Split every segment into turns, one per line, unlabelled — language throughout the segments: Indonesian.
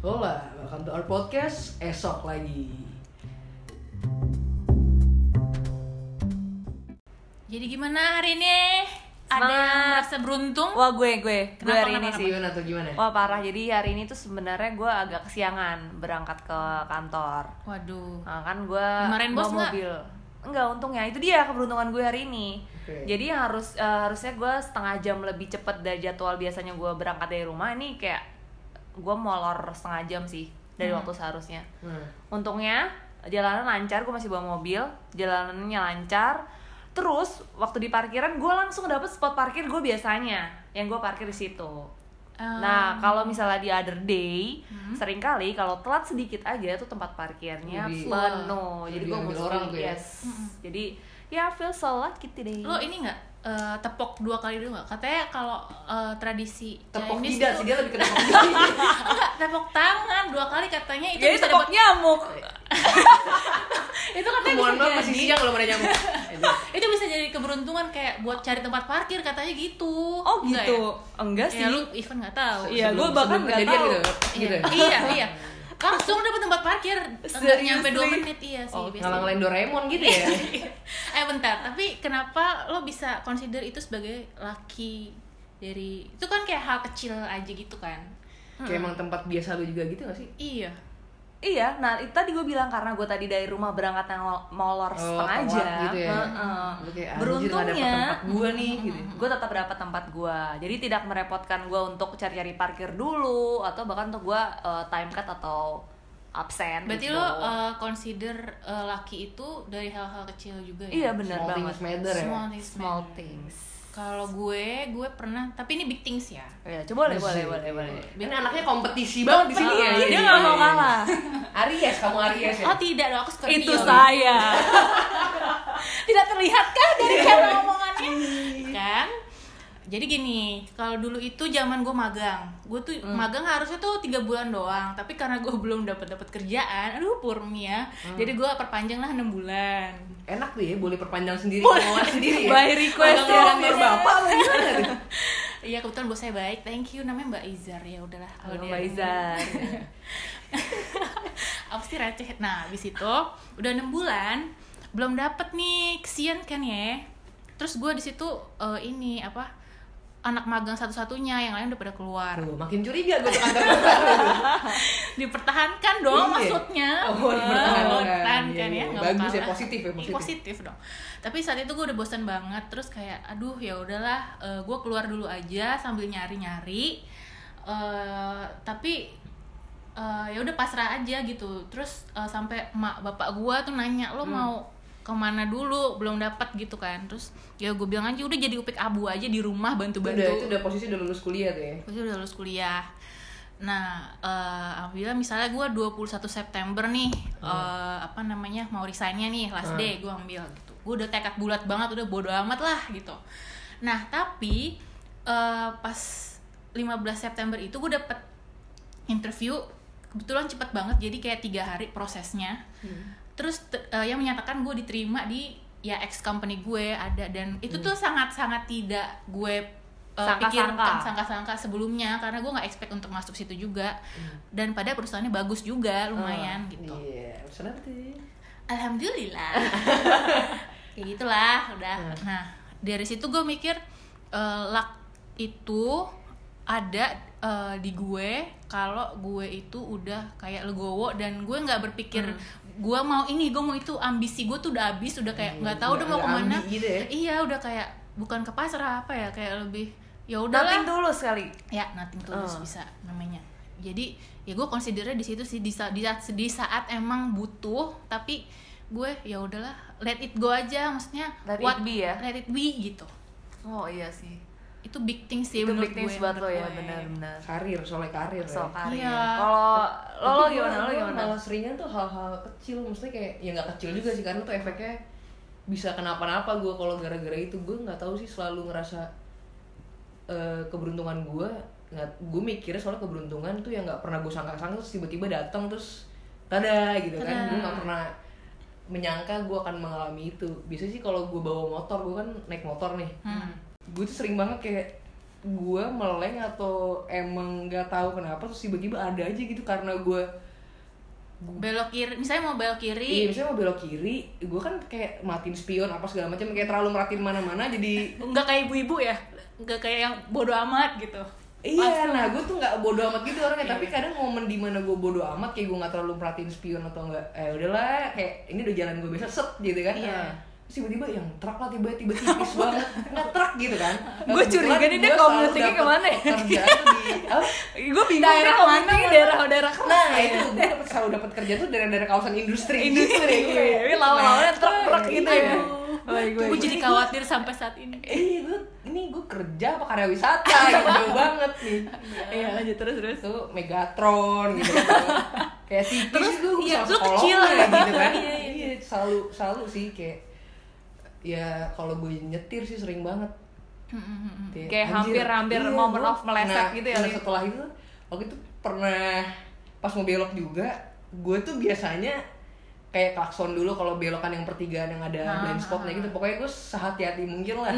Hola, welcome to our podcast esok lagi.
Jadi gimana hari ini? Ada
Semangat.
yang merasa beruntung?
Wah gue gue gue
Kenapa,
hari ini
kenapa,
sih. Oh.
Gimana tuh gimana?
Wah parah jadi hari ini tuh sebenarnya gue agak kesiangan berangkat ke kantor.
Waduh.
Nah, kan gue
Dimarahin bos nggak?
mobil. Enggak untungnya itu dia keberuntungan gue hari ini.
Oke.
Jadi harus eh, harusnya gue setengah jam lebih cepet dari jadwal biasanya gue berangkat dari rumah ini kayak gue molor setengah jam sih dari
Hmm.
waktu seharusnya.
Nah,
Untungnya jalanan lancar, gue masih bawa mobil, jalanannya lancar. Terus waktu di parkiran gue langsung dapet spot parkir gue biasanya, yang gue parkir di situ.
Eh, Ah.
Nah kalau misalnya di other day,
Hmm.
seringkali kalau telat sedikit aja tuh tempat parkirnya
Lebih-
penuh. Jadi
lebih
gue
ambil
mesti
orang tuh ya.
yes. Jadi ya feel so lucky today.
Hmm. Lo ini nggak eh, tepok dua kali dulu nggak? Katanya kalau eh, tradisi
tepok
Chinese
tidak
tuh-
sih dia lebih kena tepok tidak.
Nggak, tepok tangan dua kali katanya itu
Jadi
bisa
tepok
dapat
nyamuk.
itu katanya
Mohon
bisa
maaf
jadi
masih siang kalau ada nyamuk.
Iya,
Aduh.
itu bisa jadi keberuntungan kayak buat cari tempat parkir katanya gitu
Oh
Nggak
gitu.
ya?
Enggak
ya,
sih.
lu even nggak tahu
Iya,
Sebelum-
gua bahkan
sebelum
nggak
kejadian
tahu.
gitu. Gitu.
iya iya, iya. langsung dapet tempat parkir nggak
Seriously?
nyampe dua menit iya sih
Oh,
biasanya.
ngalang-ngalain Doraemon gitu
Iya.
ya.
eh bentar tapi kenapa lo bisa consider itu sebagai laki dari itu kan kayak hal kecil aja gitu kan
Kayak emang tempat biasa lu juga gitu gak sih?
iya
Iya, nah itu tadi gue bilang karena gue tadi dari rumah berangkat yang lo- molor
Oh,
setengah
telat
jam.
gitu ya.
Heeh.
Lu kayak, anjir, nggak dapet
Beruntungnya
tempat gua nih gitu.
gue tetap dapat tempat gue, jadi tidak merepotkan gue untuk cari-cari parkir dulu atau bahkan untuk gue eh, time cut atau absen.
berarti
gitu.
lo uh, consider uh, laki itu dari hal-hal kecil juga ya?
iya benar
Small
banget.
things matter ya.
small things
Small
matter.
things.
kalau gue gue pernah tapi ini big things ya
Iya, coba boleh, boleh,
Asik.
boleh, boleh.
Ini anaknya kompetisi banget di sini ya.
Iya, dia nggak mau kalah.
Aries, kamu Aries ya.
oh tidak dong aku Scorpio
Itu saya.
tidak terlihat kah dari
Iya.
cara omongannya kan jadi gini kalau dulu itu zaman gue magang gue tuh
Hmm.
magang harusnya tuh tiga bulan doang tapi karena gue belum dapat dapat kerjaan aduh purmi ya
Hmm.
jadi gue perpanjang lah enam bulan
Enak tuh ya, boleh perpanjang sendiri, kemauan sendiri ya.
By request ya.
Nomor bapak apa gimana gitu? tuh?
iya kebetulan bos saya baik thank you namanya mbak Izar ya udahlah kalau
Halo
dia-
Mbak Izar.
apa sih receh nah abis itu udah enam bulan belum dapet nih kesian kan ya terus gue di situ eh, ini apa anak magang satu-satunya yang lain udah pada keluar
Aduh, makin curiga gue ke kantor bapak.
dipertahankan dong
Iya.
maksudnya
Oh, dipertahankan.
Oh, dipertahankan
Iya,
ya
iya.
nggak
Bagus
apa-apa.
ya, positif ya,
Iya,
positif.
positif dong tapi saat itu gue udah bosan banget terus kayak aduh ya udahlah eh, gue keluar dulu aja sambil nyari nyari tapi eh, ya udah pasrah aja gitu terus eh, sampai emak bapak gue tuh nanya
Hmm.
lo mau kemana dulu belum dapat gitu kan terus ya gue bilang aja udah jadi upik abu aja di rumah bantu bantu
Udah, itu udah posisi udah lulus kuliah tuh ya.
Gue sih udah lulus kuliah. Nah, eh apabila misalnya gue 21 September nih, eh, apa namanya, mau resignnya nih, last day gue ambil gitu. Gue udah tekad bulat banget, udah bodo amat lah gitu. Nah, tapi eh, pas 15 September itu gue dapet interview, kebetulan cepet banget, jadi kayak tiga hari prosesnya. Terus te- eh, yang menyatakan gue diterima di ya ex company gue ada dan itu tuh sangat-sangat tidak gue eh,
Sangka-sangka.
pikirkan sangka-sangka sebelumnya karena gue nggak expect untuk masuk situ juga dan pada perusahaannya bagus juga lumayan gitu
Iya, pesan apa tuh?
alhamdulillah kayak gitulah udah nah dari situ gue mikir eh, luck itu ada eh, di gue kalau gue itu udah kayak legowo dan gue nggak berpikir gue mau ini gue mau itu ambisi gue tuh udah habis udah kayak nggak tahu
udah
udah mau
ada
kemana
Iya, ambi gitu ya.
iya udah kayak bukan ke pasar apa ya kayak lebih ya
Nothing
udahlah
dulu sekali.
ya nothing to lose
Oh.
bisa namanya jadi ya gue considernya di situ sih di saat, di saat di saat emang butuh tapi gue ya udahlah let it go aja maksudnya
Let it be ya?
let it be gitu
Oh iya sih.
itu big thing sih
Itu
menurut
big things
gue,
buat lo
menurut
ya,
gue.
benar-benar.
Karir, soalnya karir. ya.
soal karir.
Iya.
Kalau lo lo
Tapi
gimana
gua-
lo
gua
gimana?
Malah seringan tuh hal-hal kecil, maksudnya kayak ya nggak kecil juga sih karena tuh efeknya bisa kenapa-napa gue kalau gara-gara itu gue nggak tahu sih selalu ngerasa eh, keberuntungan gue nggak gue mikirnya soalnya keberuntungan tuh yang nggak pernah gue sangka-sangka terus tiba-tiba datang terus tada gitu kan gue nggak pernah menyangka gue akan
Hmm.
Hmm.
mengalami itu biasanya sih kalau gue bawa motor gue kan naik motor nih gue tuh sering banget kayak gue meleng atau emang nggak tahu kenapa terus tiba-tiba ada aja gitu karena gue
belok kiri misalnya mau belok
iya
kiri
misalnya mau belok kiri gue kan kayak matiin spion apa segala macam kayak terlalu merhatiin mana-mana jadi
nggak kayak ibu-ibu ya nggak kayak yang bodoh amat gitu
Iya, nah gue tuh nggak bodo amat gitu
Iya.
orangnya, tapi kadang momen dimana gue bodo amat kayak gue nggak terlalu perhatiin spion atau enggak, eh udahlah kayak ini udah jalan gue biasa set gitu kan.
Iya.
Nah, Terus tiba-tiba yang truk lah tiba tiba tipis banget, nggak truk gitu kan. Nah,
Gua
kebetulan
curiga nih
gua
dia
selalu
commutingnya
dapet
kemana ya?
Kerjaan di apa?
gue bingung
Daerah
Iya. daerah
mana,
mana
mana?
daerah-daerah
Nah itu gue dapet selalu dapat kerja tuh dari dari kawasan industri.
iya. industri
Gitu,
iya, Iya.
kayak,
ini lawan-lawannya
nah,
truk-truk gitu ya
iya.
Wah, gue-
gue jadi khawatir sampai saat ini
Eh, gue ini gue kerja apa karya wisata? gitu, Jauh banget nih.
iya lanjut terus terus
itu Megatron gitu kayak tipis terus gue
iya,
bisa
lu
sekolah
kecil.
lah, gitu kan
Iya,
iya, selalu selalu sih kayak ya kalau gue nyetir sih sering banget
Kayak
anjir,
hampir-hampir
iya,
moment
gua-
of meleset
nah,
gitu ya,
nah,
Li?
setelah itu waktu itu pernah pas mau belok juga gue tuh biasanya kayak klakson dulu kalau belokan yang pertigaan yang ada
Ah,
blind spotnya gitu pokoknya gue sehati-hati mungkin lah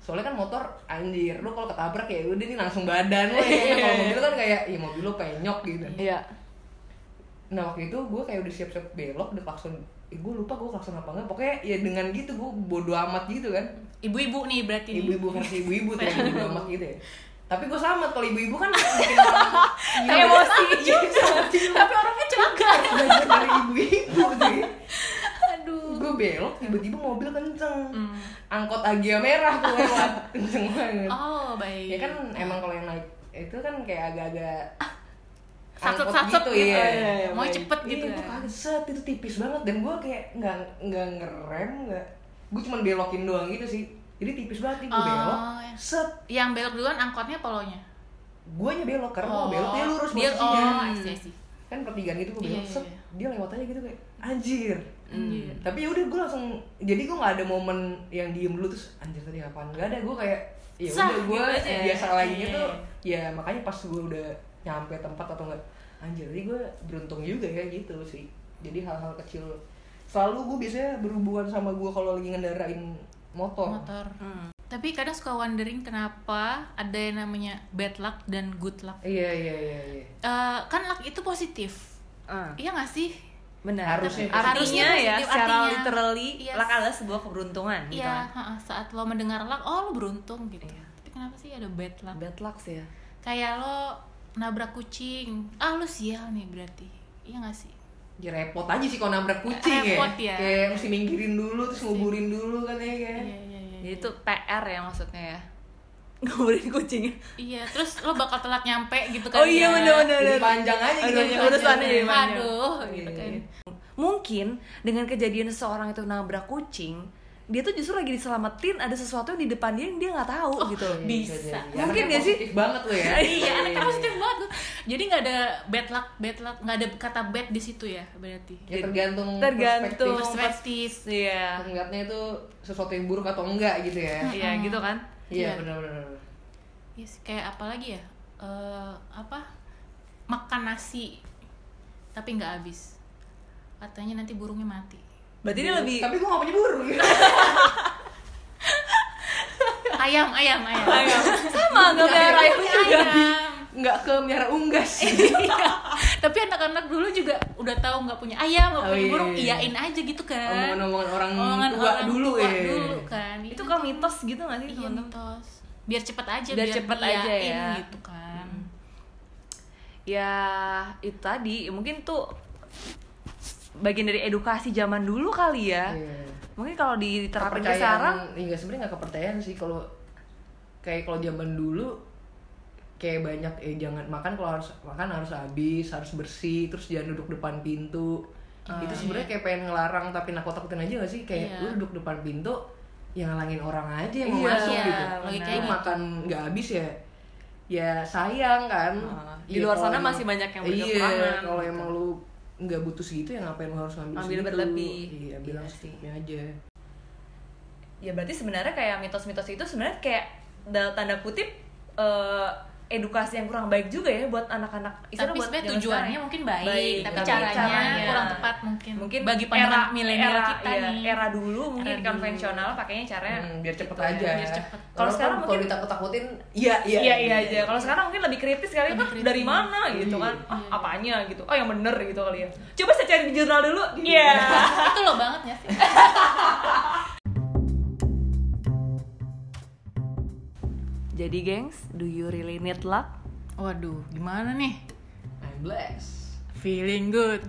soalnya kan motor anjir lu kalau ketabrak ya udah nih langsung badan lo ya kalau mobil kan kayak ya mobil lo penyok gitu
iya
Nah waktu itu gue kayak udah siap-siap belok udah klakson eh, gue lupa gue klakson apa enggak pokoknya ya dengan gitu gue bodo amat gitu kan
ibu-ibu nih berarti nih.
ibu-ibu versi ibu-ibu tuh yang bodo amat gitu ya tapi gue selamat kalau ibu-ibu kan bikin orang gila.
emosi
Iya. tapi orangnya celaka
belajar dari ibu-ibu sih
aduh
gue belok tiba-tiba mobil kenceng angkot agia merah tuh lewat kenceng banget
oh baik
ya kan emang kalau yang naik itu kan kayak agak-agak angkot
satu-satu gitu,
iya.
iya, iya,
mau
baik.
cepet gitu
iya, gue
kan
kaget set itu tipis banget dan gue kayak nggak nggak ngerem nggak gue cuma belokin doang gitu sih jadi tipis banget nih gue
Oh,
belok
iya.
set
yang belok duluan angkotnya polonya
gue nya belok karena mau belok dia lurus
dia,
posisinya
oh I see, I see.
kan pertigaan gitu gue
Iya,
belok
iya,
set
iya.
dia lewat aja gitu kayak anjir tapi ya udah gue langsung jadi gue nggak ada momen yang diem dulu terus anjir tadi apaan nggak ada gue kayak ya
Sah,
udah gue
gitu aja ya.
biasa lagi gitu
Iya.
ya makanya pas gue udah nyampe tempat atau enggak anjir tadi gue beruntung juga ya gitu sih jadi hal-hal kecil selalu gue biasanya berhubungan sama gue kalau lagi ngendarain motor,
motor tapi kadang suka wondering kenapa ada yang namanya bad luck dan good luck
iya iya iya, iya.
Eh, kan luck itu positif iya gak sih
benar
Harusnya
artinya
positif. Artinya
ya secara
positif, artinya.
literally
Yes.
luck adalah sebuah keberuntungan gitu
iya
kan.
ha-ha, saat lo mendengar luck oh lo beruntung gitu
Iya.
tapi kenapa sih ada bad luck
bad luck sih ya
kayak lo nabrak kucing ah lo sial nih berarti iya gak sih
Ya, repot aja sih kalau nabrak kucing
Repot ya.
Kayak mesti minggirin dulu terus nguburin dulu kan ya kan.
iya iya iya
jadi itu PR ya maksudnya ya nguburin kucingnya
iya terus lo bakal telat nyampe gitu kan
oh
ya. Iya,
iya benar benar
Jadi
benar.
panjang aja gitu.
Aduh, urusannya jadi panjang.
aduh gitu kan
iya. mungkin dengan kejadian seseorang itu nabrak kucing dia tuh justru lagi diselamatin ada sesuatu yang di depan dia yang dia nggak tahu gitu
Iya,
bisa.
jadi.
Mungkin
Anaknya
gak sih?
Positif banget lo ya.
iya anaknya positif banget gua. jadi nggak ada bad luck bad luck nggak ada kata bad di situ ya berarti
Iya.
Ya tergantung
Tergantung.
perspektif
perspektif
iya
ngeliatnya itu sesuatu yang buruk atau enggak gitu ya.
iya gitu kan
Iya
Iya.
benar-benar.
Yes, kayak apa lagi ya Eh, apa makan nasi tapi nggak habis katanya nanti burungnya mati
berarti dia lebih
Tapi gua gak punya burung. gitu.
ayam ayam ayam
Ayam. sama nggak merah
Ayam,
ayam juga
ayam.
Enggak ke miara unggas.
tapi anak-anak dulu juga udah tahu nggak punya ayam
Oh,
nggak punya
iya,
burung
iya.
iyain aja gitu kan
Omongan-omongan orang
Omongan
tua
orang
dulu
tua
ya.
dulu kan
itu kan mitos gitu nggak sih
Iya
teman-teman
mitos. Biar cepet aja,
Biar cepet aja
diiyain
ya.
gitu kan.
ya itu tadi mungkin tuh bagian dari edukasi zaman dulu kali ya
Iya.
mungkin kalau diterapin ke
Kepercayaan,
sekarang
iya sebenarnya nggak kepercayaan sih kalau kayak kalau zaman dulu kayak banyak eh jangan makan kalau harus makan harus habis harus bersih terus jangan duduk depan pintu
Ah,
itu
iya.
sebenarnya kayak pengen ngelarang tapi nakut-nakutin aja gak sih kayak
Iya.
lu duduk depan pintu yang ngalangin orang aja yang mau
Iya,
masuk gitu
logikanya
lu
gitu.
makan nggak habis ya ya sayang kan
Ah, di
Ya,
luar
kalau
sana
emang-
masih banyak yang
iya
berkekurangan,
kalau
gitu.
emang lu nggak butuh segitu ya ngapain lu harus ngambil
Ambil
segitu?
berlebih.
iya bilang
Iya sih.
secukupnya aja
ya berarti sebenarnya kayak mitos-mitos itu sebenarnya kayak dalam tanda kutip eh, edukasi yang kurang baik juga ya buat anak-anak istilahnya
tapi sebenarnya
buat zaman sekarang
tujuannya
ya.
mungkin baik,
Baik,
tapi,
tapi
caranya,
caranya
kurang tepat mungkin.
mungkin
bagi penerap
era-
milenial
era-
kita
iya,
nih.
era dulu mungkin
Era dulu.
konvensional pakainya caranya
Hmm, biar cepet
gitu ya.
aja.
biar cepet.
Kalau
Kalau sekarang
sekarang kalau
mungkin-
ditakut-takutin, iya iya.
Iya iya aja. Kalau sekarang mungkin lebih kritis kali
Lebih
"Ah,
kritis.
dari mana gitu kan.
Iya.
Ah, apanya gitu. Oh, yang bener gitu kali ya. Coba saya cari di jurnal dulu. Iya.
itu lo banget ya sih.
Jadi, gengs, do you really need luck?
Waduh, gimana nih?
I'm blessed.
Feeling good.